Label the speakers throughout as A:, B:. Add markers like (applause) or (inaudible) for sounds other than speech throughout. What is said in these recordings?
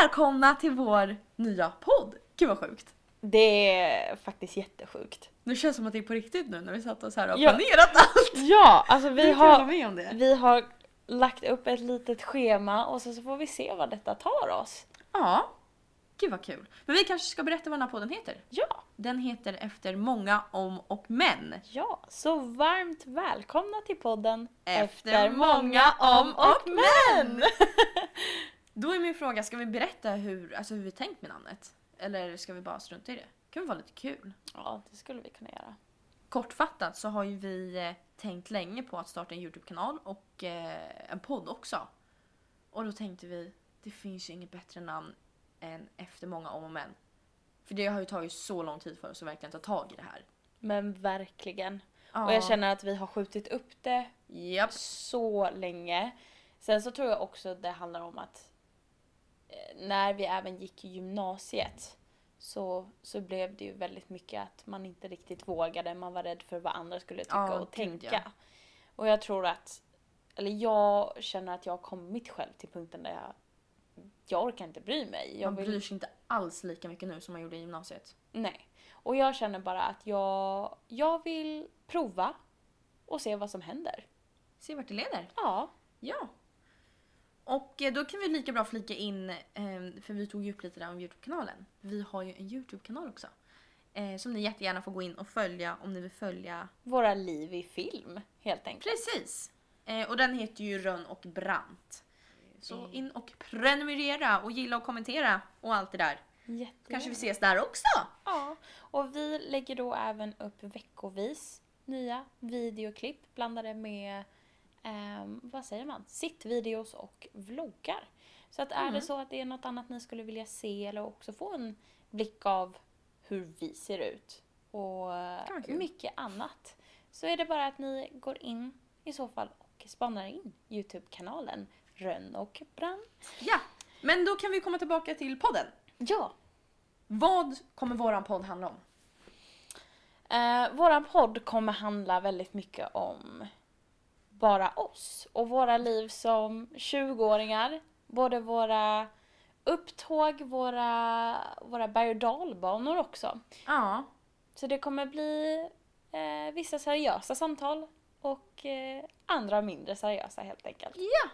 A: välkomna till vår nya podd! Gud vad sjukt!
B: Det är faktiskt jättesjukt.
A: Nu känns det som att det är på riktigt nu när vi satt och så här och
B: Ja.
A: planerat allt.
B: Ja, alltså vi
A: Hur kul att vara
B: har,
A: med om det.
B: vi har lagt upp ett litet schema och sen så får vi se vad detta tar oss.
A: Ja. Gud vad kul. Men vi kanske ska berätta vad den här podden heter.
B: Ja,
A: Den heter Efter många om och men.
B: ja, så varmt välkomna till podden
A: men! (laughs) Då är min fråga, ska vi berätta hur, alltså hur vi tänkt med namnet? Eller ska vi bara strunta i det? Det kan väl vara lite kul.
B: Ja, det skulle vi kunna göra.
A: Kortfattat så har ju vi eh, tänkt länge på att starta en Youtube-kanal och eh, en podd också. Och då tänkte vi, det finns ju inget bättre namn än Efter många om och men. För det har ju tagit så lång tid för oss att verkligen ta tag i det här.
B: Men verkligen. Och jag känner att vi har skjutit upp det
A: Japp.
B: så länge. Sen så tror jag också att det handlar om att eh, när vi även gick i gymnasiet så, så blev det ju väldigt mycket att man inte riktigt vågade. Man var rädd för vad andra skulle tycka
A: Ja,
B: och
A: gud,
B: tänka.
A: ja.
B: Och jag tror att, eller jag känner att jag har kommit själv till punkten där jag, jag orkar inte bry mig. Jag
A: Man
B: vill
A: bryr sig inte alls lika mycket nu som man gjorde i gymnasiet.
B: Nej. Och jag känner bara att jag, jag vill prova och se vad som händer.
A: Se vart det leder.
B: Ja.
A: Ja. Och eh, då kan vi lika bra flika in, eh, för vi tog ju upp lite där om Youtube-kanalen. Vi har ju en Youtube-kanal också. eh, Som ni jättegärna får gå in och följa om ni vill följa.
B: Våra liv i film, helt enkelt.
A: Precis! Eh, Och den heter ju Rönn och Brant. Så
B: Mm.
A: in och prenumerera och gilla och kommentera och allt det där.
B: Jättegärna.
A: Kanske vi ses där också!
B: Ja. Och vi lägger då även upp veckovis nya videoklipp blandade med, ehm, vad säger man, sittvideos och vloggar. Så att är
A: Mm.
B: det så att det är något annat ni skulle vilja se eller också få en blick av hur vi ser ut och
A: kan vara kul.
B: mycket annat så är det bara att ni går in i så fall och spanar in Youtube-kanalen Rönn och Brand.
A: Ja! Men då kan vi komma tillbaka till podden.
B: Ja,
A: Vad kommer våran podd handla om?
B: Eh, våran podd kommer handla väldigt mycket om bara oss och våra liv som 20-åringar. Både våra upptåg, våra, våra berg och dalbanor också.
A: Ja,
B: Så det kommer bli eh, vissa seriösa samtal och eh, andra mindre seriösa helt enkelt.
A: ja.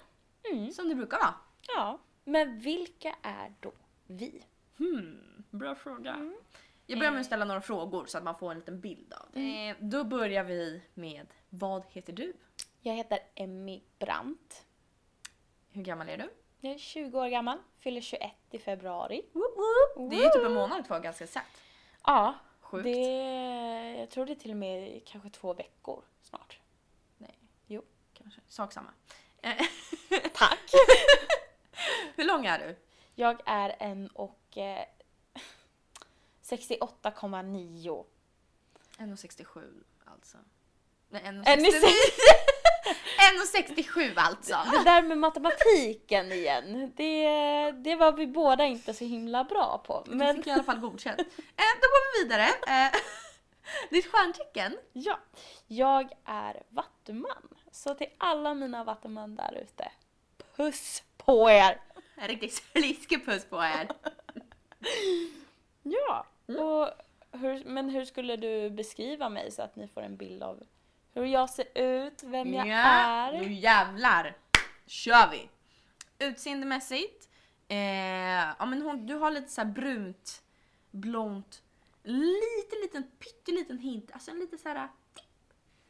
B: Mm.
A: som det brukar vara.
B: Ja, men vilka är då vi?
A: Hmm, bra fråga. Jag börjar med att ställa några frågor så att man får en liten bild av det. Eh, Då börjar vi med, vad heter du?
B: Jag heter Emmy Brandt.
A: Hur gammal är du?
B: Jag är 20 år gammal, fyller 21 i februari.
A: Det är ju typ en månad kvar ganska exakt.
B: Ja,
A: Sjukt.
B: Det, jag tror det är till och med kanske två veckor snart.
A: Nej.
B: Jo.
A: Kanske. Sak samma. Eh, (laughs)
B: Tack!
A: Hur lång är du?
B: (laughs) Jag är en och eh, (laughs) 68,9.
A: 1,67 alltså. Nej,
B: Är ni
A: 1,69.
B: säkra?
A: (laughs) 1,67 (laughs) alltså.
B: Det där med matematiken igen, det, det var vi båda inte så himla bra på.
A: Men... Du (laughs)
B: Men
A: fick i alla fall godkänt. Eh, Då går vi vidare. Eh, (laughs) Ditt stjärntecken?
B: ja, jag är vattuman. Så till alla mina vattuman där ute, puss på er!
A: En (laughs) riktig sliskepuss på er.
B: Ja,
A: Mm.
B: och hur, men hur skulle du beskriva mig så att ni får en bild av hur jag ser ut, vem jag
A: Nu
B: är?
A: jävlar kör vi! Utseendemässigt, eh, ja, men hon, du har lite så här brunt, blont, lite liten pytteliten hint, alltså en liten så här tipp,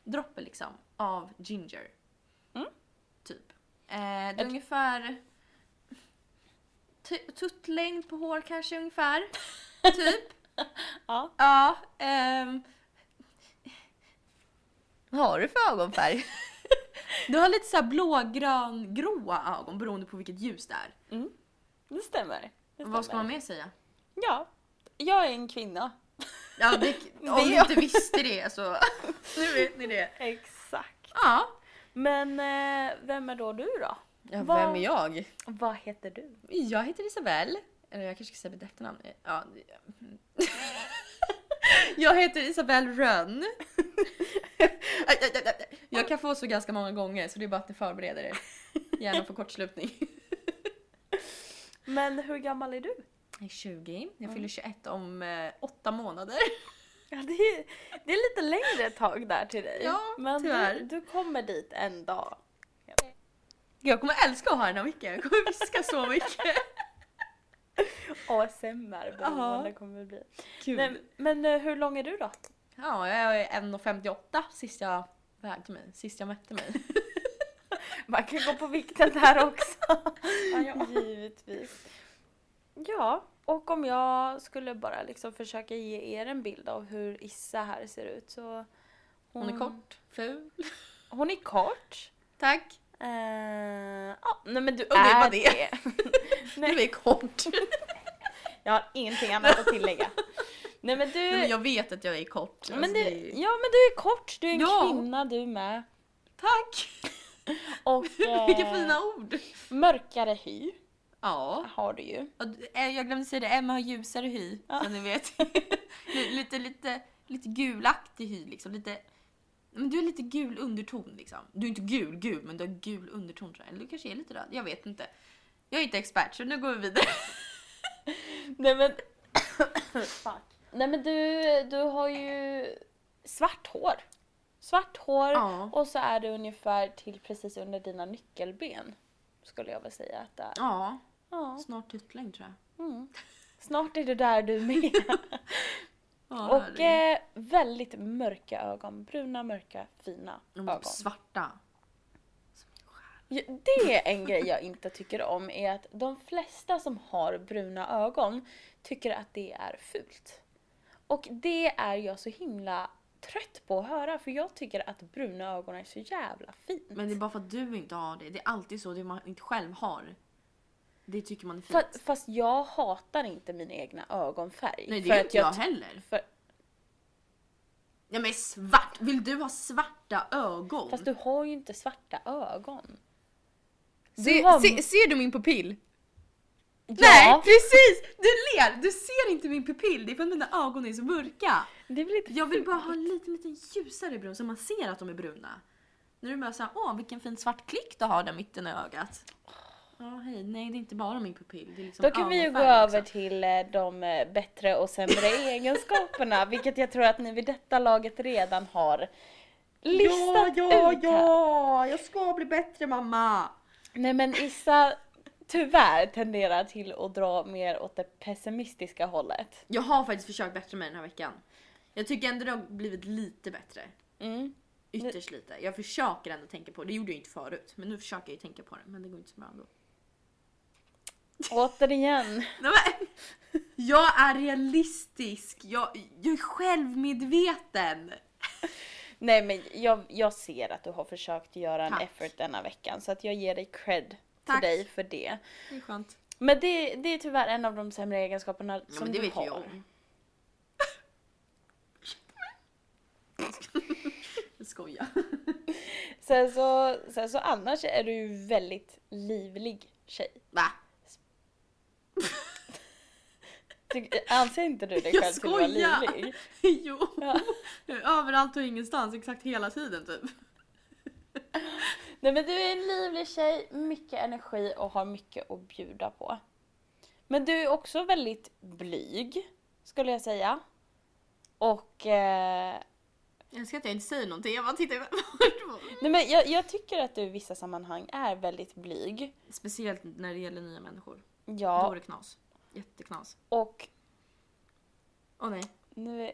A: droppe liksom av ginger.
B: Mm.
A: Typ. Eh, det är ungefär tu- tuttlängd på hår kanske
B: (laughs)
A: ungefär. typ.
B: Ja.
A: Ja. ehm. Vad har du för ögonfärg? du har lite så här blågrön gråa ögon beroende på vilket ljus det är.
B: Mm. Det stämmer. Det
A: Vad ska
B: stämmer.
A: man mer säga?
B: Ja, jag är en kvinna.
A: Ja, (laughs) det,
B: Det
A: om ni
B: är-
A: inte visste det så (laughs) nu vet ni det.
B: Exakt.
A: Ja.
B: Men eh, vem är då du då? Vad-
A: vem är jag?
B: Vad heter du?
A: Jag heter Isabelle. Eller jag kanske ska säga mitt efternamn. Ja. det- (laughs) Jag heter Isabelle Rönn. (laughs) Aj, aj, aj, aj. Jag kan få så ganska många gånger så det är bara att ni förbereder er. Gärna för kortslutning.
B: Men hur gammal är du?
A: Jag är 20, jag fyller 21 om eh, åtta månader.
B: Ja, det, är, det är lite längre tag där till dig.
A: Ja,
B: Men
A: tyvärr.
B: du, du kommer dit en dag.
A: Jag kommer älska att ha den här micken, jag kommer viska så
B: (laughs)
A: mycket.
B: ASMR-beroende
A: Ja.
B: kommer det bli.
A: Kul.
B: Nej, men eh, hur lång är du då?
A: Ja, jag är 1,58 sist jag vägde mig, sist jag mätte mig.
B: Man kan gå på vikten där också. Givetvis. Ja, och om jag skulle bara liksom försöka ge er en bild av hur Issa här ser ut så...
A: Hon är kort, ful.
B: Hon är kort.
A: Tack.
B: Eh, ja, nej men du
A: det
B: är
A: var
B: det.
A: det.
B: Nej.
A: Du är kort.
B: (laughs) Jag har ingenting annat att tillägga. Nej men du...
A: Nej, men jag vet att jag är kort.
B: men
A: Alltså,
B: du,
A: det är-
B: ja men du är kort, du är en
A: Ja.
B: kvinna du med.
A: Tack!
B: Och
A: (laughs)
B: eh,
A: Vilka fina ord!
B: mörkare hy
A: Ja.
B: har du ju.
A: Och, d- eh, jag glömde säga det, Emma har ljusare hy.
B: Ja.
A: Som ni
B: (laughs)
A: vet. Li- lite, lite, lite gulaktig hy liksom. Lite, men du är lite gul underton liksom. Du är inte gul gul men du har gul underton tror jag. Eller du kanske är lite röd, jag vet inte. Jag är inte expert så nu går vi vidare.
B: Nej men...
A: (coughs)
B: Fuck. Nej men du, du har ju svart hår. Svart hår
A: Ja.
B: och så är det ungefär till precis under dina nyckelben. Skulle jag väl säga att det är.
A: Ja,
B: Ja.
A: snart tuttling tror jag.
B: Mm. Snart är du där du med.
A: (laughs) Ja,
B: och
A: herregud.
B: eh, väldigt mörka ögon. Bruna, mörka, fina
A: De är
B: ögon.
A: typ svarta.
B: Ja, Det är en grej jag inte tycker om är att de flesta som har bruna ögon tycker att det är fult. Och det är jag så himla trött på att höra för jag tycker att bruna ögon är så jävla fint.
A: Men det är bara för att du inte har det. Det är alltid så, det man inte själv har. Det tycker man är fint.
B: fast, fast jag hatar inte min egna ögonfärg.
A: Nej det
B: för
A: gör
B: att
A: inte jag
B: ty-
A: heller.
B: för,
A: Nej men svart! Vill du ha svarta ögon?
B: Fast du har ju inte svarta ögon.
A: Se-
B: har-
A: se- ser du min pupill?
B: Ja,
A: Nej precis! Du ler! Du ser inte min pupill, det är för att mina ögon är så mörka.
B: Det blir lite
A: Jag vill
B: fult.
A: bara ha en lite, lite ljusare brun så man ser att de är bruna. När du bara såhär, åh vilken fin svart klick du har där mitten i ögat. Ja hej, nej det är inte bara min pupill. Det är liksom
B: Då kan vi ju gå
A: ögonfärg också.
B: över till eh, de eh, bättre
A: (laughs)
B: och sämre egenskaperna, vilket jag tror att ni vid detta laget redan har listat
A: ja,
B: ut här.
A: ja! Jag ska bli bättre mamma!
B: Nej men Issa tyvärr tenderar till att dra mer åt det pessimistiska hållet.
A: Jag har faktiskt försökt bättre mig den här veckan. Jag tycker ändå det har blivit lite bättre.
B: Mm.
A: Ytterst lite. Jag försöker ändå tänka på det. Det gjorde jag inte förut. Men nu försöker jag ju tänka på det. Men det går inte så bra ändå. (laughs)
B: Återigen,
A: Nej, men, (laughs) jag är realistisk. Jag, jag är självmedveten.
B: nej men jag, jag ser att du har försökt göra en
A: Tack.
B: effort denna veckan så att jag ger dig cred till
A: Tack.
B: dig för det.
A: Det är skönt.
B: Men det, det är tyvärr en av de sämre egenskaperna
A: Ja,
B: som
A: men det
B: du
A: vet
B: har.
A: ju jag om. Jag skojar.
B: Sen så, sen så annars är du ju väldigt livlig tjej.
A: (laughs) Va?
B: Ty, anser inte du dig
A: Jag
B: själv till att vara
A: skojar!
B: livlig?
A: (laughs) Jo.
B: Ja.
A: Överallt och ingenstans. Exakt hela tiden typ.
B: Nej men du är en livlig tjej, mycket energi och har mycket att bjuda på. Men du är också väldigt blyg, skulle jag säga. Och... Eh,
A: Jag önskar att jag inte säger någonting. Jag bara tittar bort.
B: nej men jag, jag tycker att du i vissa sammanhang är väldigt blyg.
A: Speciellt när det gäller nya människor. Då är
B: Ja,
A: det knas. Jätteknas.
B: och
A: Åh nej.
B: nu...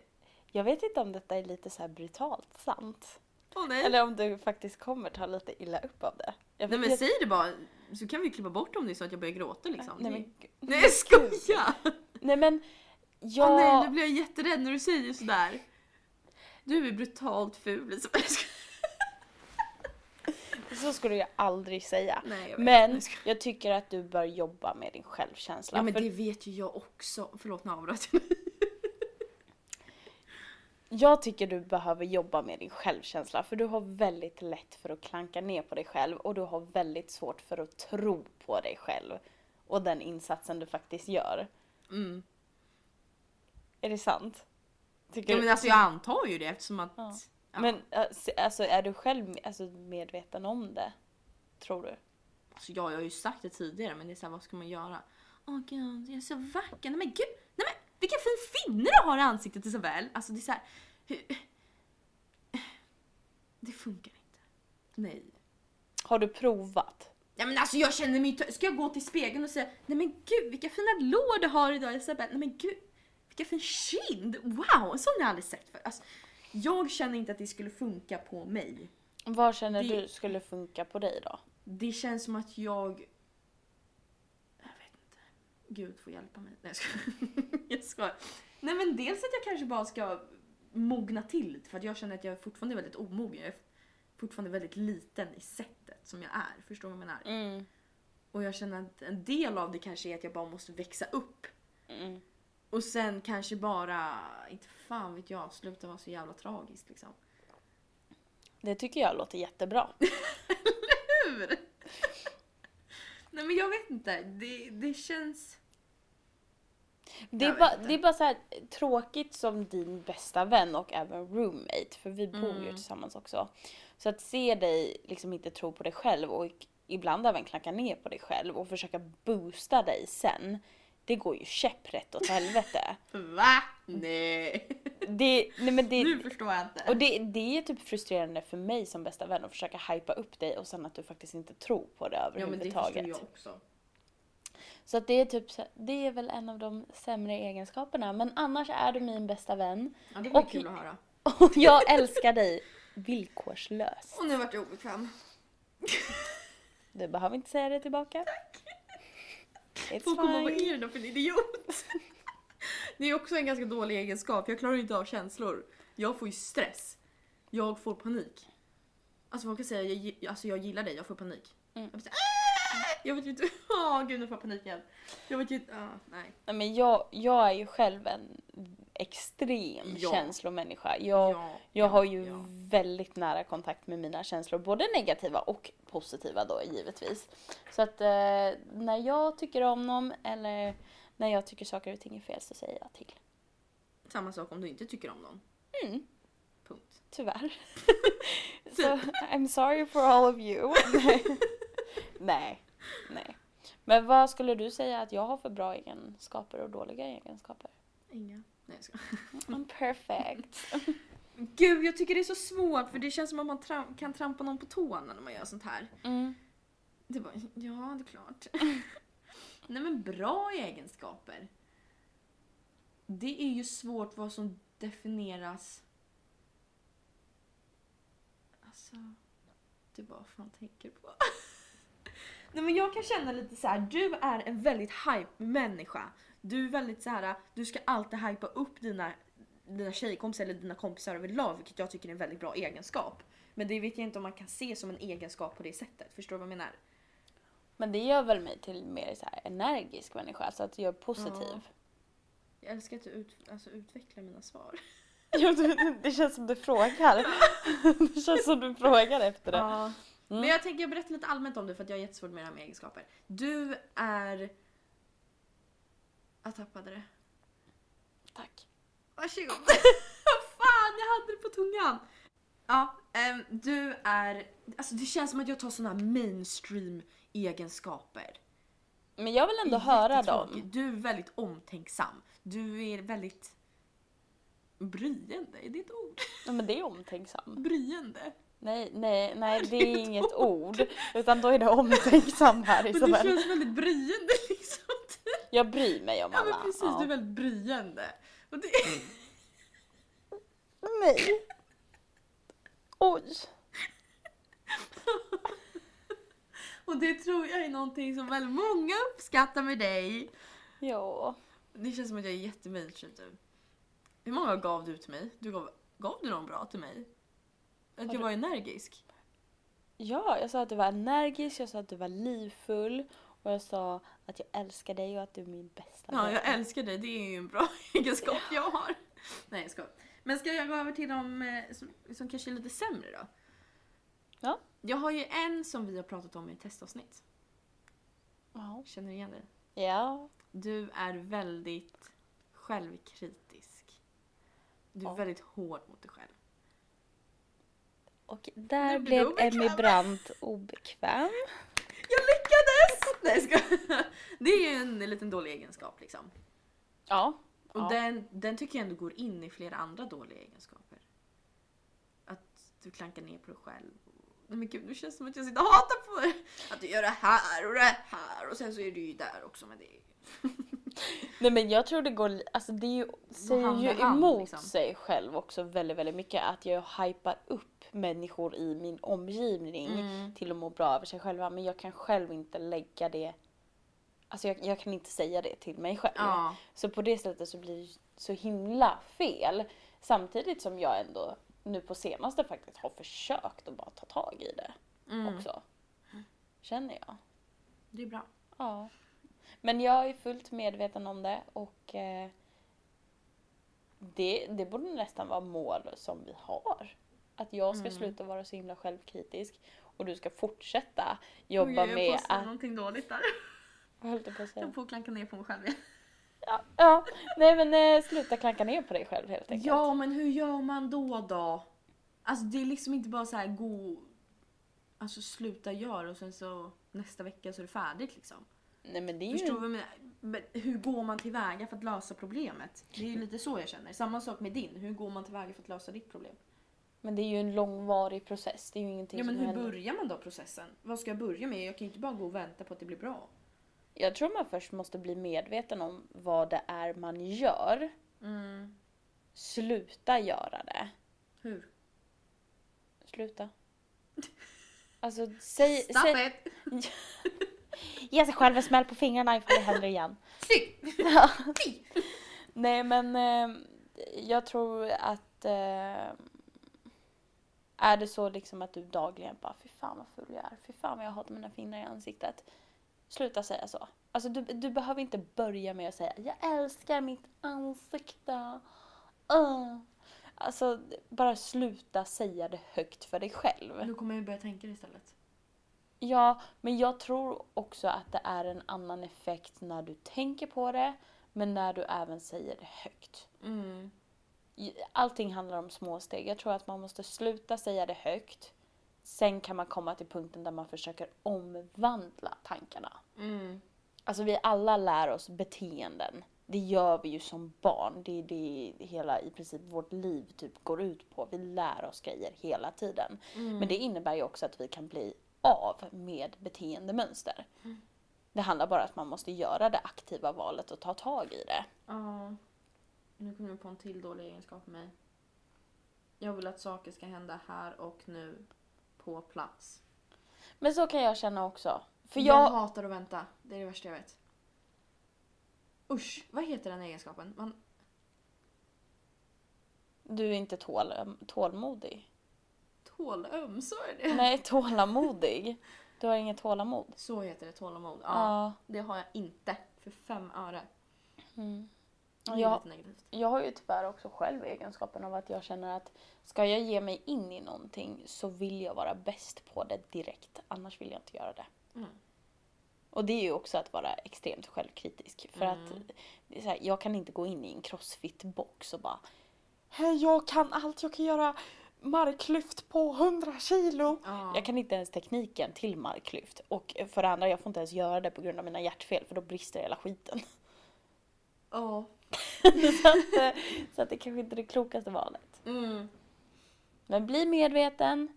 B: Jag vet inte om detta är lite så här brutalt sant.
A: Åh nej.
B: Eller om du faktiskt kommer ta lite illa upp av det. Jag
A: nej
B: vet-
A: men säg det bara. Så kan vi klippa bort om det är så att jag börjar gråta liksom.
B: Nej men,
A: nej jag skojar!
B: nej, men
A: Åh
B: jag...
A: nej nu blir jag jätterädd när du säger sådär. Du är brutalt ful. Så- jag skojar.
B: Så skulle jag aldrig säga.
A: Nej jag vet.
B: Men
A: Jag skojar.
B: jag tycker att du bör jobba med din självkänsla.
A: Ja men
B: för
A: det vet ju jag också. Förlåt nu avbröt jag.
B: Jag tycker du behöver jobba med din självkänsla för du har väldigt lätt för att klanka ner på dig själv och du har väldigt svårt för att tro på dig själv och den insatsen du faktiskt gör.
A: Mm.
B: Är det sant? Tycker
A: Ja, men
B: du?
A: alltså jag antar ju det eftersom att...
B: Ja.
A: ja.
B: Men alltså, alltså, är du själv alltså, medveten om det? Tror du?
A: Alltså, ja, jag har ju sagt det tidigare men det är såhär vad ska man göra? åh gud, jag är så vacker. Nej men gud, nej men vilken fin finne du har i ansiktet Isabelle. Alltså det är så här, hur... Det funkar inte. Nej.
B: Har du provat?
A: Ja men alltså jag känner mig tö- Ska jag gå till spegeln och säga nej men gud vilka fina lår du har idag Isabelle. Nej men gud vilka fin kind. Wow, en sån har jag aldrig sett förut. Alltså, jag känner inte att det skulle funka på mig.
B: Vad känner
A: Det-
B: du skulle funka på dig då?
A: Det känns som att jag... Jag vet inte. Gud får hjälpa mig. Nej jag skojar. (laughs) jag skojar. Nej men dels att jag kanske bara ska mogna till lite för att jag känner att jag fortfarande är väldigt omogen. Jag är fortfarande väldigt liten i sättet som jag är. Förstår du vad jag menar?
B: Mm.
A: Och jag känner att en del av det kanske är att jag bara måste växa upp.
B: Mm.
A: Och sen kanske bara, inte fan vet jag, sluta vara så jävla tragiskt liksom.
B: Det tycker (laughs) jag låter jättebra.
A: Hur? (laughs) Nej men jag vet inte, det, det känns...
B: Det
A: Jag
B: är,
A: vet
B: bara,
A: inte.
B: det är bara så här tråkigt som din bästa vän och även roommate, för vi bor ju
A: Mm.
B: tillsammans också. Så att se dig liksom inte tro på dig själv och ibland även klacka ner på dig själv och försöka boosta dig sen. Det går ju käpprätt åt (laughs) helvete.
A: Va? Nej!
B: (laughs) Det, nej men det,
A: Nu förstår jag inte.
B: och det, det är typ frustrerande för mig som bästa vän att försöka hypa upp dig och sen att du faktiskt inte tror på det
A: Ja men det
B: överhuvudtaget.
A: förstår jag också.
B: Så att det är typ så- det är väl en av de sämre egenskaperna. Men annars är du min bästa vän. (laughs)
A: Ja, det var
B: Och-
A: kul att höra.
B: Och jag älskar dig villkorslöst.
A: Och nu vart jag obekväm.
B: Du behöver inte säga det tillbaka.
A: Folk kommer
B: It's
A: vad
B: fine.
A: är det för en idiot? (laughs) Det är också en ganska dålig egenskap. Jag klarar inte av känslor. Jag får ju stress. Jag får panik. Alltså folk kan säga jag, gi- alltså, jag gillar dig, jag får panik.
B: Mm.
A: Jag, blir så här, "Ah!" jag vet ju inte... (laughs) Åh gud nu får jag panik igen. Jag vet ju inte... ah, nej.
B: Nej, men jag, jag är ju själv en extrem
A: Ja.
B: känslomänniska. Jag,
A: Ja,
B: jag har ju
A: ja.
B: väldigt nära kontakt med mina känslor, både negativa och positiva då givetvis. Så att eh, när jag tycker om någon eller när jag tycker saker och ting är fel så säger jag till.
A: Samma sak om du inte tycker om någon.
B: Mm.
A: Punkt.
B: Tyvärr. (laughs) so, I'm sorry for all of you. (laughs) nej, nej. Men vad skulle du säga att jag har för bra egenskaper och dåliga egenskaper?
A: Inga. Nej jag ska.
B: I'm perfect.
A: Gud jag tycker det är så svårt för det känns som att man tram- kan trampa någon på tårna när man gör sånt här.
B: Mm.
A: Det var, ja, det är klart. Nej men bra egenskaper. Det är ju svårt vad som definieras... Alltså... Du bara, vad fan tänker du på? (laughs) Nej men jag kan känna lite så här. du är en väldigt hype-människa. Du är väldigt så här. du ska alltid hypa upp dina, dina tjejkompisar eller dina kompisar överlag, vilket jag tycker är en väldigt bra egenskap. Men det vet jag inte om man kan se som en egenskap på det sättet, förstår du vad jag menar?
B: Men det gör väl mig till mer så här energisk människa, så att jag är positiv.
A: Jag älskar att du ut, alltså, utvecklar mina svar.
B: (laughs) Ja. det känns som du frågar. (laughs) det känns som du frågar efter det.
A: Ja.
B: Mm.
A: Men jag tänker jag berättar lite allmänt om det för att jag är jättesvårt med det här med egenskaper. Du är... Jag tappade det.
B: Tack.
A: Varsågod. (laughs) Fan, jag hade det på tungan. Ja, ehm, du är... Alltså det känns som att jag tar såna här mainstream egenskaper.
B: Men jag vill ändå höra dem.
A: Jättetråkigt. Du är väldigt omtänksam. Du är väldigt... Bryende, är det ett ord?
B: Ja, men det är omtänksam.
A: Bryende.
B: Nej, nej, nej, (laughs) det är
A: ett
B: inget ord. Utan då är det omtänksam här (laughs)
A: Men du
B: Isabel.
A: känns väldigt bryende (laughs) liksom.
B: Jag bryr mig om
A: Ja
B: alla.
A: men precis, du är väldigt bryende. Och det, (laughs)
B: Nej. Oj.
A: och det tror jag är någonting som väldigt många uppskattar med dig.
B: Ja.
A: Det känns som att jag är jättemainstream typ. Hur många gav du till mig? Du gav, gav du någon bra till mig? Att
B: Har
A: jag
B: du-
A: var energisk?
B: ja, jag sa att du var energisk, jag sa att du var livfull och jag sa att jag älskar dig och att du är min bästa
A: Ja,
B: vän.
A: jag älskar dig. Det är ju en bra (laughs) egenskap jag har. Nej, jag skojar. Men ska jag gå över till de eh, som, som kanske är lite sämre då?
B: Ja.
A: Jag har ju en som vi har pratat om i ett testavsnitt.
B: Ja.
A: Känner du igen dig?
B: Ja.
A: Du är väldigt självkritisk. Du är
B: Ja.
A: väldigt hård mot dig själv.
B: Och där
A: Nu blir du
B: blev Emmy
A: obekväm.
B: Brandt obekväm.
A: Jag lyckades! Nej, jag skojar. Det är ju en liten dålig egenskap liksom.
B: Ja.
A: Och
B: Ja.
A: den, den tycker jag ändå går in i flera andra dåliga egenskaper. Att du klankar ner på dig själv. Nej men gud, nu känns det som att jag sitter och hatar på dig. Att du gör det här och det här och sen så är du ju där också med det.
B: Nej men jag tror det går, li- alltså det är ju, säger
A: hand
B: ju
A: i hand,
B: emot
A: liksom.
B: sig själv också väldigt väldigt mycket att jag hypar upp människor i min omgivning
A: Mm.
B: till att må bra över sig själva men jag kan själv inte lägga det, alltså jag, jag kan inte säga det till mig själv.
A: Ja.
B: Så på det sättet så blir det ju så himla fel. Samtidigt som jag ändå nu på senaste faktiskt har försökt att bara ta tag i det
A: Mm.
B: också. Känner jag.
A: Det är bra.
B: Ja. Men jag är fullt medveten om det och eh, det, det borde nästan vara mål som vi har. Att jag
A: Mm.
B: ska sluta vara så himla självkritisk och du ska fortsätta jobba
A: Oj,
B: med
A: Jag påstår
B: att...
A: någonting dåligt där.
B: Vad höll jag på att säga?
A: Jag får klanka ner på mig själv igen.
B: Ja, ja. Nej men eh, sluta klanka ner på dig själv helt enkelt.
A: Ja, men hur gör man då då? Alltså det är liksom inte bara så här gå... Alltså sluta göra och sen så nästa vecka så är det färdigt liksom.
B: Nej men det är
A: Förstår du
B: ju...
A: vad jag menar? Men hur går man tillväga för att lösa problemet? Det är
B: Mm.
A: ju lite så jag känner. Samma sak med din. Hur går man tillväga för att lösa ditt problem?
B: Men det är ju en långvarig process. Det är ju ingenting
A: Ja, men
B: som
A: hur
B: händer.
A: börjar man då processen? Vad ska jag börja med? Jag kan ju inte bara gå och vänta på att det blir bra.
B: Jag tror man först måste bli medveten om vad det är man gör. Mm. Sluta göra det.
A: Hur?
B: Sluta. Alltså säg...
A: Stop
B: säg
A: it!
B: ge sig själv en smäll på fingrarna ifall det
A: (laughs)
B: händer igen.
A: Fy! Typ. Fy!
B: Nej men eh, jag tror att... Eh, är det så liksom att du dagligen bara fy fan vad ful jag är, fy fan vad jag hatar mina fingrar i ansiktet. Sluta säga så. Alltså du, du behöver inte börja med att säga jag älskar mitt ansikte. Uh. Alltså bara sluta säga det högt för dig själv.
A: Nu kommer jag ju börja tänka det istället.
B: Ja, men jag tror också att det är en annan effekt när du tänker på det, men när du även säger det högt. Mm. Allting handlar om små steg. Jag tror att man måste sluta säga det högt. Sen kan man komma till punkten där man försöker omvandla tankarna. Alltså vi alla lär oss beteenden. Det gör vi ju som barn. Det är det hela i princip vårt liv typ går ut på. Vi lär oss grejer hela tiden.
A: Mm.
B: Men det innebär ju också att vi kan bli av med beteendemönster. Det handlar bara om att man måste göra det aktiva valet och ta tag i det.
A: Ja. Nu kommer jag på en till dålig egenskap med mig. Jag vill att saker ska hända här och nu. På plats.
B: Men så kan jag känna också. För
A: jag
B: jag...
A: hatar att vänta. Det är det värsta jag vet. Usch, vad heter den egenskapen? Man...
B: Du är inte tål, tålmodig.
A: Tålöm, så är det.
B: Nej, tålamodig. Du har inget tålamod.
A: Så heter det, tålamod. Ja,
B: (laughs) Ja.
A: Det har jag inte. För fem öre.
B: Mm.
A: Det är
B: Ja.
A: lite negativt.
B: Jag har ju tyvärr också själv egenskapen av att jag känner att ska jag ge mig in i någonting så vill jag vara bäst på det direkt. Annars vill jag inte göra det.
A: Mm.
B: Och det är ju också att vara extremt självkritisk. För att
A: Mm.
B: det är så här, jag kan inte gå in i en crossfit-box och bara Hej, jag kan allt. Jag kan göra marklyft på 100 kilo.
A: Ja.
B: Jag kan inte ens tekniken till marklyft. Och för det andra, jag får inte ens göra det på grund av mina hjärtfel för då brister hela skiten. (laughs)
A: Ja.
B: så, att, eh, så att det kanske inte är det klokaste valet.
A: Mm.
B: Men bli medveten,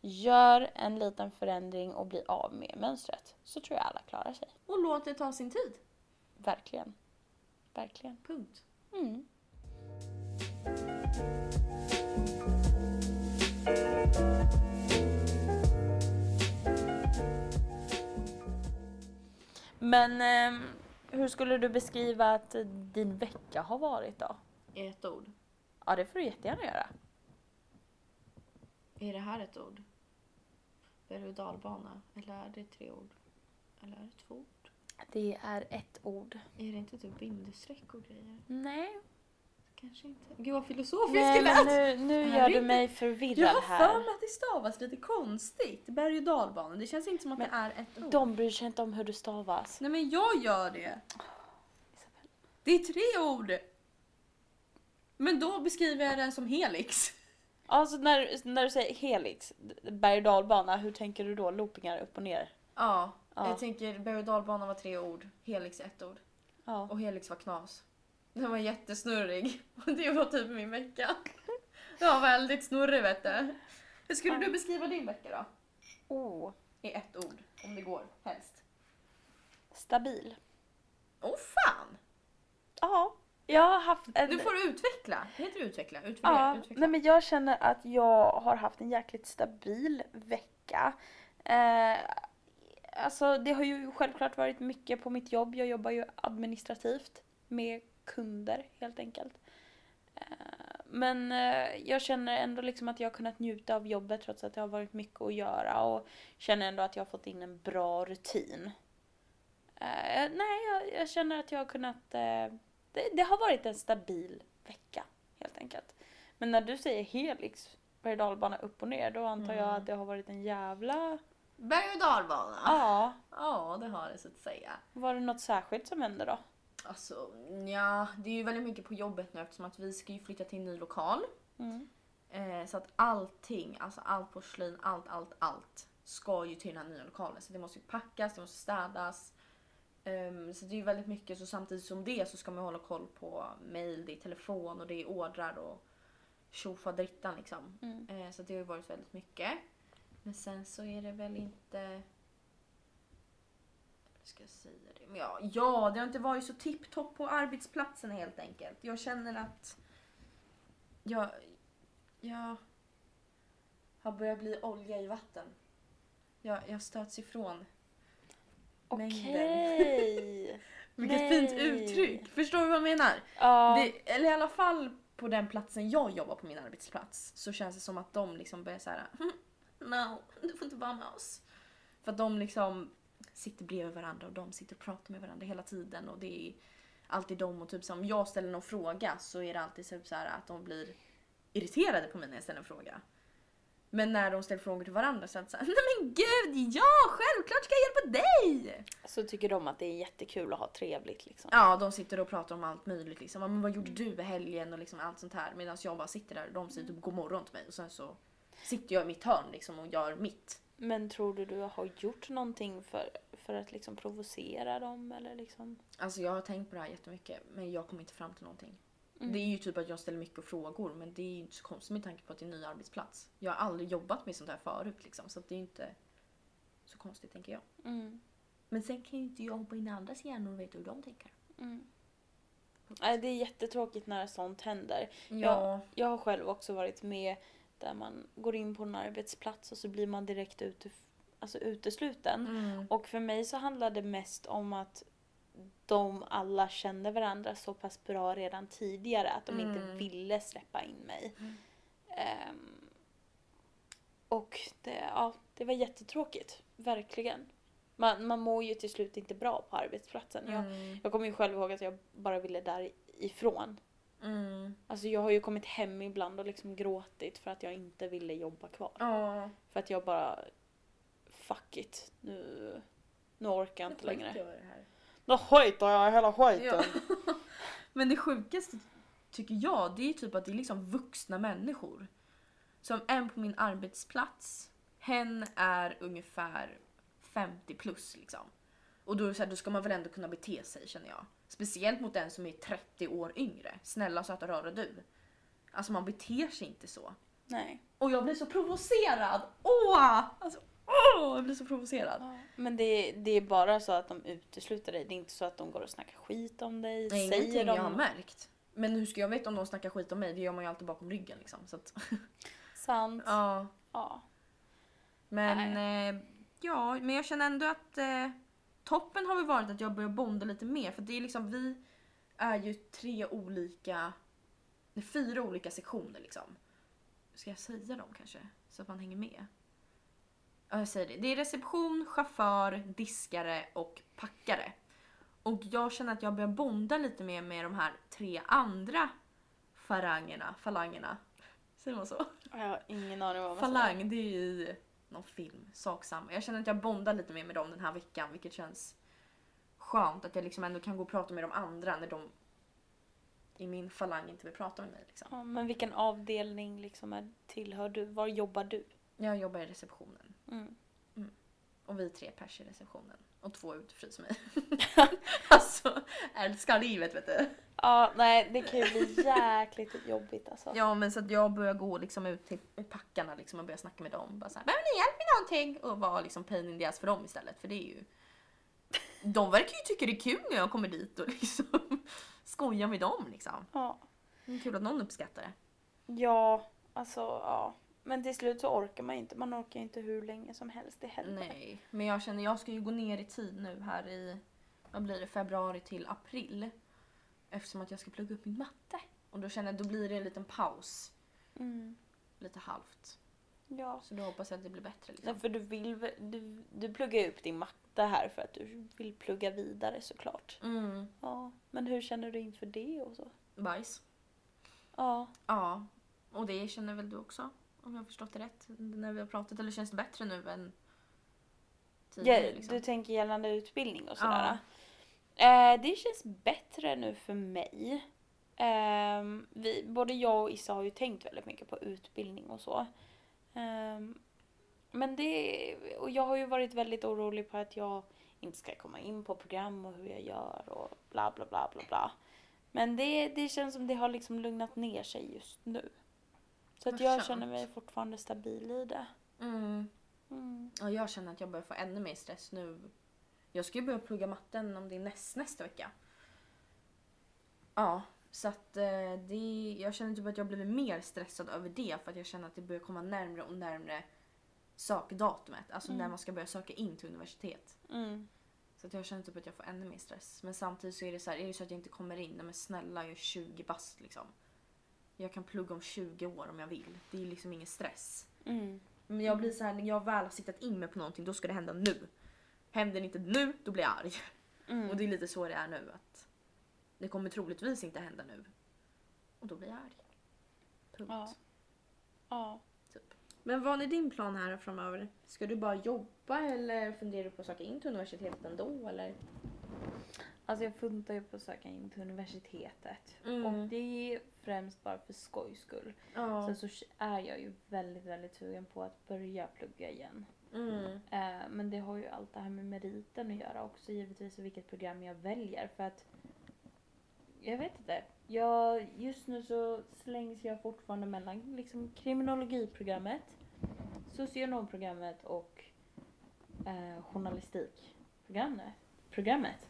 B: gör en liten förändring och bli av med mönstret. Så tror jag alla klarar sig.
A: Och låt det ta sin tid.
B: Verkligen. Verkligen.
A: Punkt.
B: Mm. Men ehm, hur skulle du beskriva att din vecka har varit då?
A: Är ett ord.
B: Ja, det får du jättegärna göra.
A: Är det här ett ord? Berg och dalbana? Eller är det tre ord? Eller är det två ord?
B: Det är ett ord.
A: Är det inte typ bindestreck och grejer?
B: Nej.
A: Kanske inte. Gud vad filosofiskt
B: alltså- Nej
A: det lät!
B: men nu, nu
A: här
B: gör
A: är
B: du
A: inte-
B: mig förvirrad
A: Jag har för
B: här.
A: mig att det stavas lite konstigt. Berg och dalbana. Det känns inte som att
B: Men
A: det är ett ord.
B: De bryr sig inte om hur du stavas.
A: Nej men jag gör det!
B: Isabel.
A: Det är tre ord! Men då beskriver jag den som helix.
B: Alltså när, när du säger helix, d- berg och dalbana, hur tänker du då? Loopingar upp och ner?
A: Ja.
B: Ja.
A: Jag tänker berg och dalbana var tre ord, helix ett ord.
B: ja.
A: Och helix var knas. Den var jättesnurrig. (laughs) Och det var typ min vecka. Den var väldigt snurrig vet du. Hur skulle
B: Ja.
A: du beskriva din vecka då?
B: Oh,
A: I ett ord, om det går helst.
B: stabil.
A: Åh oh, fan!
B: Ja, jag har haft en...
A: Nu får du utveckla. Heter det utveckla? Utvärdera,
B: ja,
A: utveckla.
B: nej men jag känner att jag har haft en jäkligt stabil vecka. Eh, alltså det har ju självklart varit mycket på mitt jobb. Jag jobbar ju administrativt med kunder helt enkelt. Eh, men eh, jag känner ändå liksom att jag har kunnat njuta av jobbet trots att det har varit mycket att göra och känner ändå att jag har fått in en bra rutin. Eh, nej, jag, jag känner att jag har kunnat... Eh, det, det har varit en stabil vecka helt enkelt. Men när du säger helix, berg och dalbana upp och ner, då antar jag
A: Mm.
B: att det har varit en jävla...
A: Berg och dalbana.
B: Ja.
A: Ah. Ja, det har det så att säga.
B: Var det något särskilt som hände då?
A: Alltså, ja, det är ju väldigt mycket på jobbet nu eftersom att vi ska ju flytta till en ny lokal.
B: Mm.
A: Eh, så att allting, alltså allt porslin, allt, allt, allt ska ju till den här nya lokalen. Så det måste ju packas, det måste städas. Ehm, så det är ju väldigt mycket. Så samtidigt som det så ska man hålla koll på mail, det är telefon och det är ordrar och tjofaderittan liksom.
B: Mm.
A: Eh, så det har ju varit väldigt mycket. Men sen så är det väl inte... Hur ska jag säga det? Men ja, ja, det har inte varit så tipptopp på arbetsplatsen helt enkelt. Jag känner att jag, jag har börjat bli olja i vatten. Jag, jag stöts ifrån. Mängden.
B: Okej.
A: (laughs) Vilket
B: Nej.
A: fint uttryck! Förstår du vad jag menar?
B: Ja.
A: Det, eller i alla fall på den platsen jag jobbar på min arbetsplats så känns det som att de liksom börjar såhär "Hm, No, du får inte vara med oss. För att de liksom sitter bredvid varandra och de sitter och pratar med varandra hela tiden och det är alltid de och typ som om jag ställer någon fråga så är det alltid typ så här att de blir irriterade på mig när jag ställer en fråga. Men när de ställer frågor till varandra så är det såhär Nej men gud ja, självklart ska jag hjälpa dig!
B: Så tycker de att det är jättekul att ha trevligt liksom.
A: Ja, de sitter och pratar om allt möjligt. Liksom. Ja, Men vad gjorde du i helgen och liksom allt sånt här. Medan jag bara sitter där och de säger typ god morgon till mig. Och sen så sitter jag i mitt hörn liksom, och gör mitt.
B: Men tror du du har gjort någonting för, för att liksom provocera dem eller liksom?
A: Alltså jag har tänkt på det här jättemycket men jag kommer inte fram till någonting.
B: Mm.
A: Det är ju typ att jag ställer mycket frågor men det är ju inte så konstigt med tanke på att det är en ny arbetsplats. Jag har aldrig jobbat med sånt här förut liksom så att det är ju inte så konstigt tänker jag.
B: Mm.
A: Men sen kan ju inte jag hoppa in i andras hjärnor och veta hur de tänker.
B: Mm. Nej, det är jättetråkigt när sånt händer.
A: Ja.
B: Jag har själv också varit med där man går in på en arbetsplats och så blir man direkt ute, alltså utesluten.
A: Mm.
B: Och för mig så handlade det mest om att de alla kände varandra så pass bra redan tidigare att de inte
A: Mm.
B: ville släppa in mig.
A: Mm.
B: Ehm, och det, ja, det var jättetråkigt, verkligen. Man, man mår ju till slut inte bra på arbetsplatsen. Jag,
A: Mm.
B: jag kommer ju själv ihåg att jag bara ville därifrån.
A: Mm.
B: Alltså jag har ju kommit hem ibland och liksom gråtit för att jag inte ville jobba kvar.
A: Ja.
B: För att jag bara, fuck it, nu, nu orkar jag inte längre.
A: Jag det här.
B: Då skiter jag i hela skiten.
A: Ja. (laughs) Men det sjukaste tycker jag det är typ att det är liksom vuxna människor. Som en på min arbetsplats, hen är ungefär 50 plus liksom. Och då, är det så här, då ska man väl ändå kunna bete sig känner jag. Speciellt mot den som är 30 år yngre. Snälla söta röra du. Alltså man beter sig inte så.
B: Nej.
A: Och jag blir så provocerad! Åh! Alltså, åh! Jag blir så provocerad.
B: Men det, det är bara så att de utesluter dig. Det är inte så att de går och snackar skit om dig.
A: Det är
B: säger
A: ingenting
B: de
A: jag har märkt. Men hur ska jag veta om de snackar skit om mig? Det gör man ju alltid bakom ryggen liksom. Så att,
B: sant. Ja.
A: ja. Men eh, ja, men jag känner ändå att eh, toppen har väl varit att jag börjar bonda lite mer för det är liksom vi är ju tre olika, nej, fyra olika sektioner liksom. Ska jag säga dem kanske? Så att man hänger med. Ja, jag säger det. Det är reception, chaufför, diskare och packare. Och jag känner att jag börjar bonda lite mer med de här tre andra farangerna, falangerna. Säger man så?
B: Jag har ingen aning vad man säger.
A: Falang, det är ju i någon film. Saksam. Jag känner att jag bondar lite mer med dem den här veckan vilket känns skönt att jag liksom ändå kan gå och prata med de andra när de i min falang inte vill prata med mig. Liksom.
B: Ja, men vilken avdelning liksom är, tillhör du? Var jobbar du?
A: Jag jobbar i receptionen.
B: Mm.
A: Mm. Och vi är tre pers i receptionen. Och två utfryser
B: (laughs)
A: mig. alltså, älskar livet vet du.
B: Ja, nej det kan ju bli (laughs) jäkligt jobbigt alltså.
A: Ja men så att jag börjar gå liksom ut till packarna liksom och börjar snacka med dem. Bara så här, behöver ni hjälp med någonting? Och vara liksom pain in the ass för dem istället. För det är ju... De verkar ju tycka det är kul när jag kommer dit och liksom (laughs) skojar med dem liksom.
B: Ja.
A: Det är kul att någon uppskattar det.
B: ja, alltså ja. Men till slut så orkar man ju inte. Man orkar ju inte hur länge som helst i heller.
A: Nej, men jag känner jag ska ju gå ner i tid nu här i vad blir det, februari till april. Eftersom att jag ska plugga upp min matte. Och då känner jag då blir det en liten paus.
B: Mm.
A: Lite halvt.
B: Ja.
A: Så då hoppas jag att det blir bättre. Liksom.
B: Nej, för du vill väl- du, du pluggar ju upp din matte här för att du vill plugga vidare såklart.
A: Mm,
B: Ja. Men hur känner du inför det och så?
A: bajs.
B: Ja.
A: Ja, och det känner väl du också? Om jag har förstått det rätt. När vi har pratat. Eller känns det bättre nu än
B: Ja,
A: tidigare? liksom?
B: Du tänker gällande utbildning
A: Ja.
B: och sådär. Eh, det känns bättre nu för mig. Ehm, vi, både jag och Issa har ju tänkt väldigt mycket på utbildning och så. Ehm, men det, och jag har ju varit väldigt orolig på att jag inte ska komma in på program och hur jag gör och bla bla bla bla bla. Men det, det känns som det har liksom lugnat ner sig just nu. Så
A: Vad
B: att jag
A: skönt.
B: känner mig fortfarande stabil i det.
A: Mm.
B: Mm.
A: Ja, jag känner att jag börjar få ännu mer stress nu. Jag ska ju börja plugga matten om det är näst, nästa vecka. Ja, så att eh, det, jag känner typ att jag blivit mer stressad över det för att jag känner att det börjar komma närmre och närmre sakdatumet. Alltså
B: Mm.
A: när man ska börja söka in till universitet.
B: Mm.
A: Så att jag känner typ att jag får ännu mer stress. Men samtidigt så är det så här, är det så att jag inte kommer in, nej men snälla jag är 20 bast liksom. Jag kan plugga om 20 år om jag vill. Det är liksom ingen stress.
B: Mm.
A: Men jag blir så här, när jag väl har siktat in mig på någonting då ska det hända nu. Händer det inte nu, då blir jag arg.
B: Mm.
A: Och det är lite så det är nu att det kommer troligtvis inte hända nu. Och då blir jag arg. Punkt.
B: Ja. Ja.
A: Typ. Men vad är din plan här framöver? Ska du bara jobba eller funderar du på att söka in till universitetet ändå eller?
B: Alltså jag funtar ju på att söka in till universitetet.
A: Mm.
B: Och det är främst bara för skojs skull.
A: Ja.
B: Sen så är jag ju väldigt, väldigt sugen på att börja plugga igen.
A: Mm.
B: Eh, men det har ju allt det här med meriten att göra också givetvis och vilket program jag väljer för att jag vet inte. Jag, just nu så slängs jag fortfarande mellan liksom kriminologiprogrammet, socionomprogrammet och eh, journalistikprogrammet. Programmet.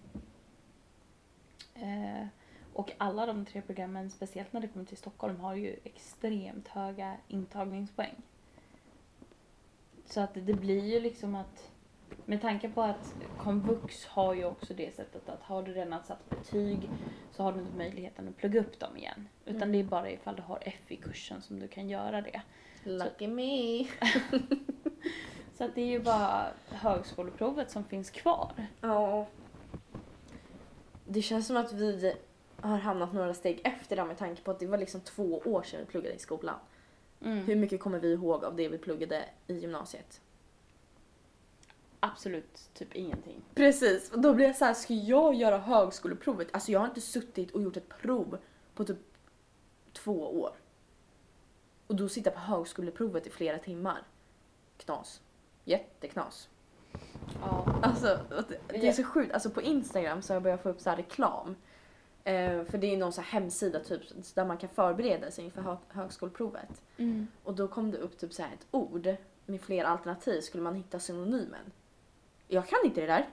B: Eh, och alla de tre programmen, speciellt när det kommer till Stockholm, har ju extremt höga intagningspoäng. Så att det blir ju liksom att med tanke på att komvux har ju också det sättet att har du redan satt betyg så har du inte möjligheten att plugga upp dem igen. Utan
A: Mm.
B: det är bara ifall du har F i kursen som du kan göra det.
A: Lucky me.
B: Så att det är ju bara högskoleprovet som finns kvar.
A: Ja. Det känns som att vi har hamnat några steg efter där med tanke på att det var liksom två år sedan vi pluggade i skolan. Hur mycket kommer vi ihåg av det vi pluggade i gymnasiet?
B: Absolut typ ingenting.
A: Precis, och då blir jag så här, ska jag göra högskoleprovet? Alltså jag har inte suttit och gjort ett prov på typ två år. Och då sitta på högskoleprovet i flera timmar. Knas. Jätteknas.
B: Ja.
A: Alltså, att det- det är så sjukt. Alltså på Instagram så har jag börjat få upp så här reklam. Eh, för det är någon så här hemsida typ där man kan förbereda sig inför hö- högskoleprovet. Och då kom det upp typ så här ett ord med fler alternativ skulle man hitta synonymen. Jag kan inte det där.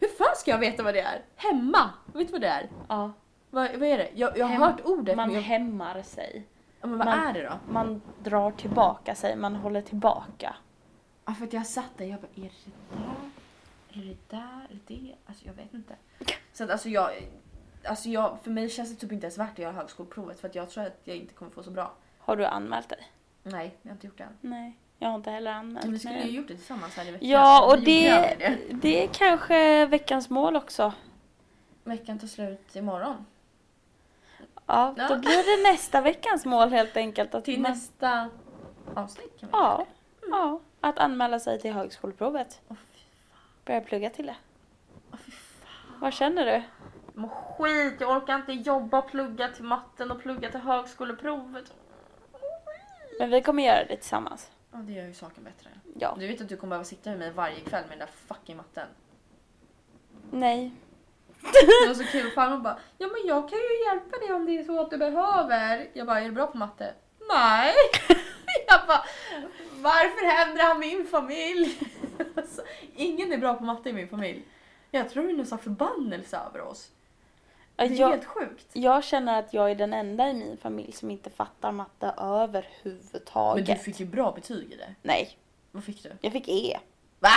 A: Hur fan ska jag veta vad det är? Hemma! Vet du vad det är?
B: ja.
A: Vad, vad är det? Jag, jag har
B: Hem-
A: hört ordet
B: Man
A: men, jag,
B: hämmar sig.
A: ja, men vad
B: man-
A: är det då?
B: Man drar tillbaka sig, man håller tillbaka.
A: Ja, för att jag satt där jag bara, är det där? Är det där? Är det det? Alltså jag vet inte. Så att alltså jag, alltså jag, för mig känns det typ inte ens värt att göra högskoleprovet för att jag tror att jag inte kommer få så bra.
B: Har du anmält dig?
A: Nej, jag har inte gjort det än.
B: Nej, jag har inte heller anmält
A: Men vi
B: mig.
A: skulle ju gjort det tillsammans här i veckan.
B: Ja,
A: så
B: och
A: vi
B: det,
A: gjorde det.
B: det är kanske veckans mål också.
A: Veckan tar slut imorgon.
B: Ja,
A: Ja.
B: då blir det nästa veckans mål helt enkelt. Att
A: Till
B: man-
A: nästa avsnitt kan vi
B: Ja, ja, att anmäla sig till högskoleprovet.
A: Åh, fy
B: Börja plugga till det.
A: Åh, fy fan.
B: Vad känner du?
A: Jag mår skit, jag orkar inte jobba och plugga till matten och plugga till högskoleprovet.
B: Men vi kommer göra det tillsammans.
A: Ja, det gör ju saken bättre.
B: Ja.
A: Du vet att du kommer behöva sitta med mig varje kväll med den där fucking matten.
B: Nej.
A: Det var så kul, farmor bara ja men jag kan ju hjälpa dig om det är så att du behöver. Jag bara är du bra på matte? Nej. (laughs) Jag bara varför händer han min familj? (laughs) Alltså, ingen är bra på matte i min familj. Jag tror det är någon sån här förbannelse över oss. Det
B: Ja,
A: är
B: Jag,
A: helt sjukt.
B: jag känner att jag är den enda i min familj som inte fattar matte
A: Men
B: överhuvudtaget.
A: du fick ju bra betyg i det.
B: Nej,
A: Vad fick du?
B: jag fick E.
A: Va?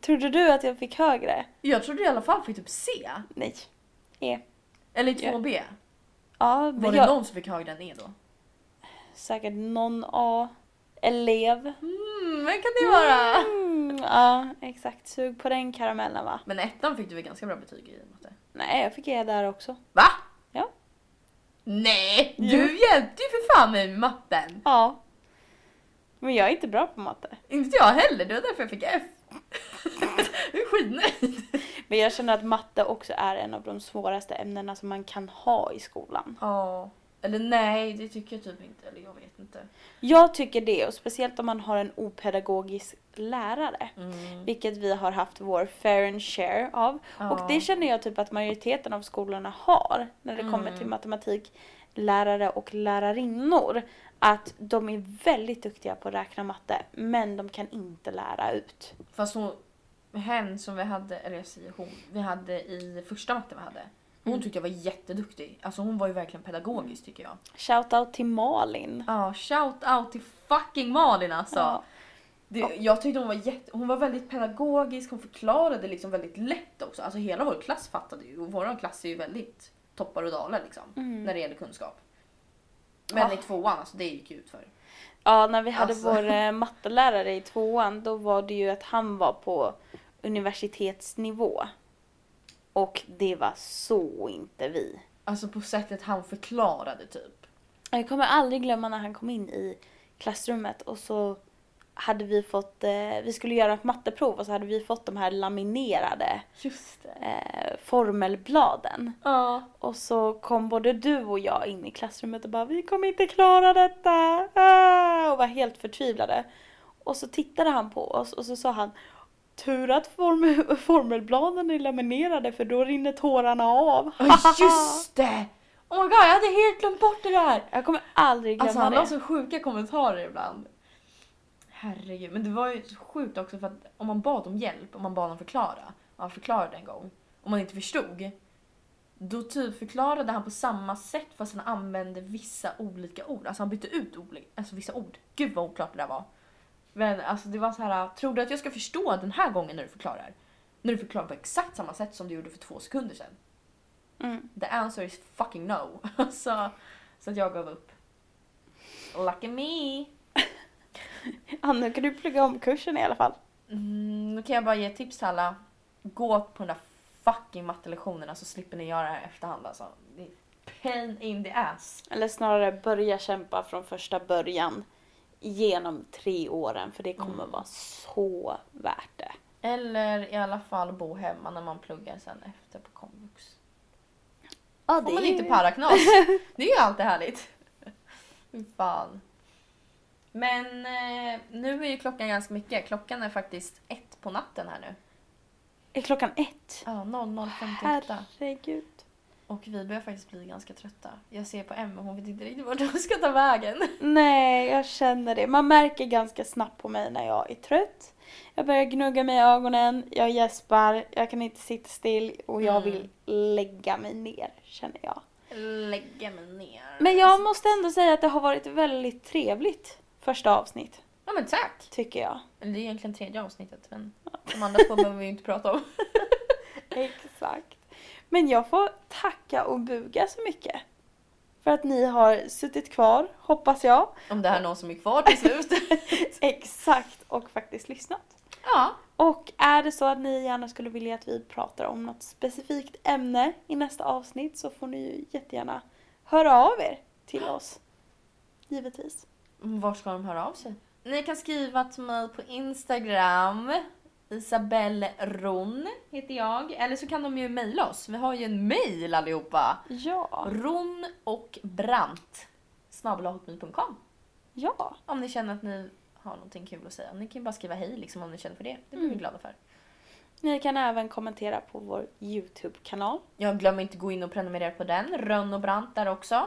B: Trodde du att jag fick högre?
A: Jag trodde i alla fall fick typ C.
B: Nej. E.
A: Eller
B: Ja.
A: 2B.
B: Ja,
A: Var
B: men
A: det
B: jag...
A: någon som fick högre än E då?
B: Säkert någon A-elev.
A: Mm, vem kan det vara?
B: Mm, ja, exakt. Sug på den karamellen va.
A: Men ettan fick du väl ganska bra betyg i matte?
B: Nej, jag fick E där också.
A: Va?
B: Ja.
A: Nej,
B: Jo.
A: du hjälpte ju för fan mig med matten.
B: Ja. Men jag är inte bra på matte.
A: Inte jag heller, det var därför jag fick F. (laughs) Jag är skitnöjd.
B: Men jag känner att matte också är en av de svåraste ämnena som man kan ha i skolan.
A: Ja. Eller nej, det tycker jag typ inte. Eller jag vet inte.
B: Jag tycker det, och speciellt om man har en opedagogisk lärare. Vilket vi har haft vår fair and share av.
A: Ja.
B: Och det känner jag typ att majoriteten av skolorna har när det kommer
A: Mm.
B: till matematiklärare och lärarinnor. Att de är väldigt duktiga på att räkna matte men de kan inte lära ut.
A: Fast hon, hen som vi hade, eller jag säger hon, vi hade i första matten vi hade. Hon
B: Mm.
A: tyckte jag var jätteduktig. Alltså hon var ju verkligen pedagogisk tycker jag.
B: Shoutout till Malin.
A: Ja, shout out till fucking Malin alltså.
B: Ja.
A: Det, jag tyckte hon var, jätte, hon var väldigt pedagogisk, hon förklarade liksom väldigt lätt också. Alltså hela vår klass fattade ju och vår klass är ju väldigt toppar och dalar liksom
B: Mm.
A: när det gäller kunskap. Men
B: Ah.
A: i tvåan, alltså det gick ju ut för.
B: Ja, när vi hade
A: Alltså.
B: vår eh, mattelärare i tvåan då var det ju att han var på universitetsnivå. Och det var så inte vi.
A: Alltså på sättet han förklarade typ.
B: Jag kommer aldrig glömma när han kom in i klassrummet och så hade vi fått, eh, vi skulle göra ett matteprov och så hade vi fått de här laminerade
A: Just det.
B: eh, formelbladen. (laughs)
A: Ja.
B: Och så kom både du och jag in i klassrummet och bara vi kommer inte klara detta! Ah! Och var helt förtvivlade. Och så tittade han på oss och så sa han Tur att form- (laughs) formelbladen är laminerade för då rinner tårarna av.
A: Ja, just det! Oh my god, jag hade helt glömt bort det där!
B: (laughs) Jag kommer aldrig glömma
A: Alltså han
B: det.
A: har så sjuka kommentarer ibland. Herregud, men det var ju så sjukt också för att om man bad om hjälp, om man bad honom förklara, och han förklarade en gång, om man inte förstod, då typ förklarade han på samma sätt fast han använde vissa olika ord. Alltså han bytte ut oli- alltså vissa ord. Gud vad oklart det där var. Men alltså det var så här, tror du att jag ska förstå den här gången när du förklarar? När du förklarar på exakt samma sätt som du gjorde för två sekunder sedan.
B: Mm.
A: The answer is fucking no. (laughs) Alltså, så att jag gav upp. Lucky me!
B: Ja, nu kan du plugga om kursen i alla fall.
A: Mm, då kan jag bara ge ett tips till alla. Gå på de där fucking mattelektionerna så slipper ni göra det här i efterhand alltså. Det är pain in the ass.
B: Eller snarare börja kämpa från första början genom tre åren för det kommer
A: Mm.
B: vara så värt det.
A: Eller i alla fall bo hemma när man pluggar sen efter på komvux.
B: Ja,
A: Får man inte (laughs) paraknas. Det är ju alltid härligt. (laughs) Fy Fan. Men eh, nu är ju klockan ganska mycket. Klockan är faktiskt ett på natten här nu.
B: Är klockan ett?
A: Ja, 00.58.
B: Herregud.
A: Och vi börjar faktiskt bli ganska trötta. Jag ser på Emma, hon vet inte riktigt vart hon ska ta vägen.
B: Nej, jag känner det. Man märker ganska snabbt på mig när jag är trött. Jag börjar gnugga mig i ögonen, jag gäspar, jag kan inte sitta still och jag
A: Mm.
B: vill lägga mig ner, känner jag.
A: Lägga mig ner.
B: Men jag måste ändå säga att det har varit väldigt trevligt första avsnitt,
A: Ja men tack!
B: tycker jag.
A: Eller det är egentligen tredje avsnittet men de andra två behöver vi ju inte prata om.
B: Exakt. Men jag får tacka och buga så mycket. För att ni har suttit kvar, hoppas jag.
A: (laughs) Om det här är någon som är kvar till slut.
B: Exakt, och faktiskt lyssnat.
A: (laughs) ja.
B: Och är det så att ni gärna skulle vilja att vi pratar om något specifikt ämne i nästa avsnitt så får ni ju jättegärna höra av er till oss. Givetvis.
A: Var ska de höra av sig? Ni kan skriva till mig på Instagram. Isabelle Ron heter jag. Eller så kan de ju mejla oss. Vi har ju en mejl allihopa.
B: Ja.
A: Ron och Brant. Snabbelahotmail.com.
B: Ja.
A: Om ni känner att ni har någonting kul att säga. Ni kan ju bara skriva hej liksom, om ni känner för det. Det blir vi
B: Mm.
A: glada för.
B: Ni kan även kommentera på vår YouTube-kanal.
A: Jag glömmer inte gå in och prenumerera på den. Rönn och Brant där också.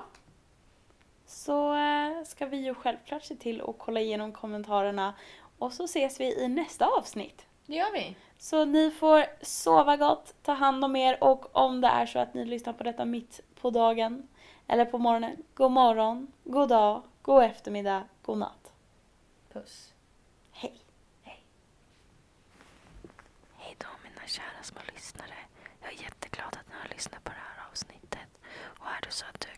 B: Så eh, ska vi ju självklart se till att kolla igenom kommentarerna och så ses vi i nästa avsnitt.
A: Det gör vi.
B: Så ni får sova gott, ta hand om er och om det är så att ni lyssnar på detta mitt på dagen eller på morgonen, god morgon, god dag, god eftermiddag, god natt.
A: Puss.
B: Hej!
C: Hej då mina kära små lyssnare. Jag är jätteglad att ni har lyssnat på det här avsnittet. Och är det så att du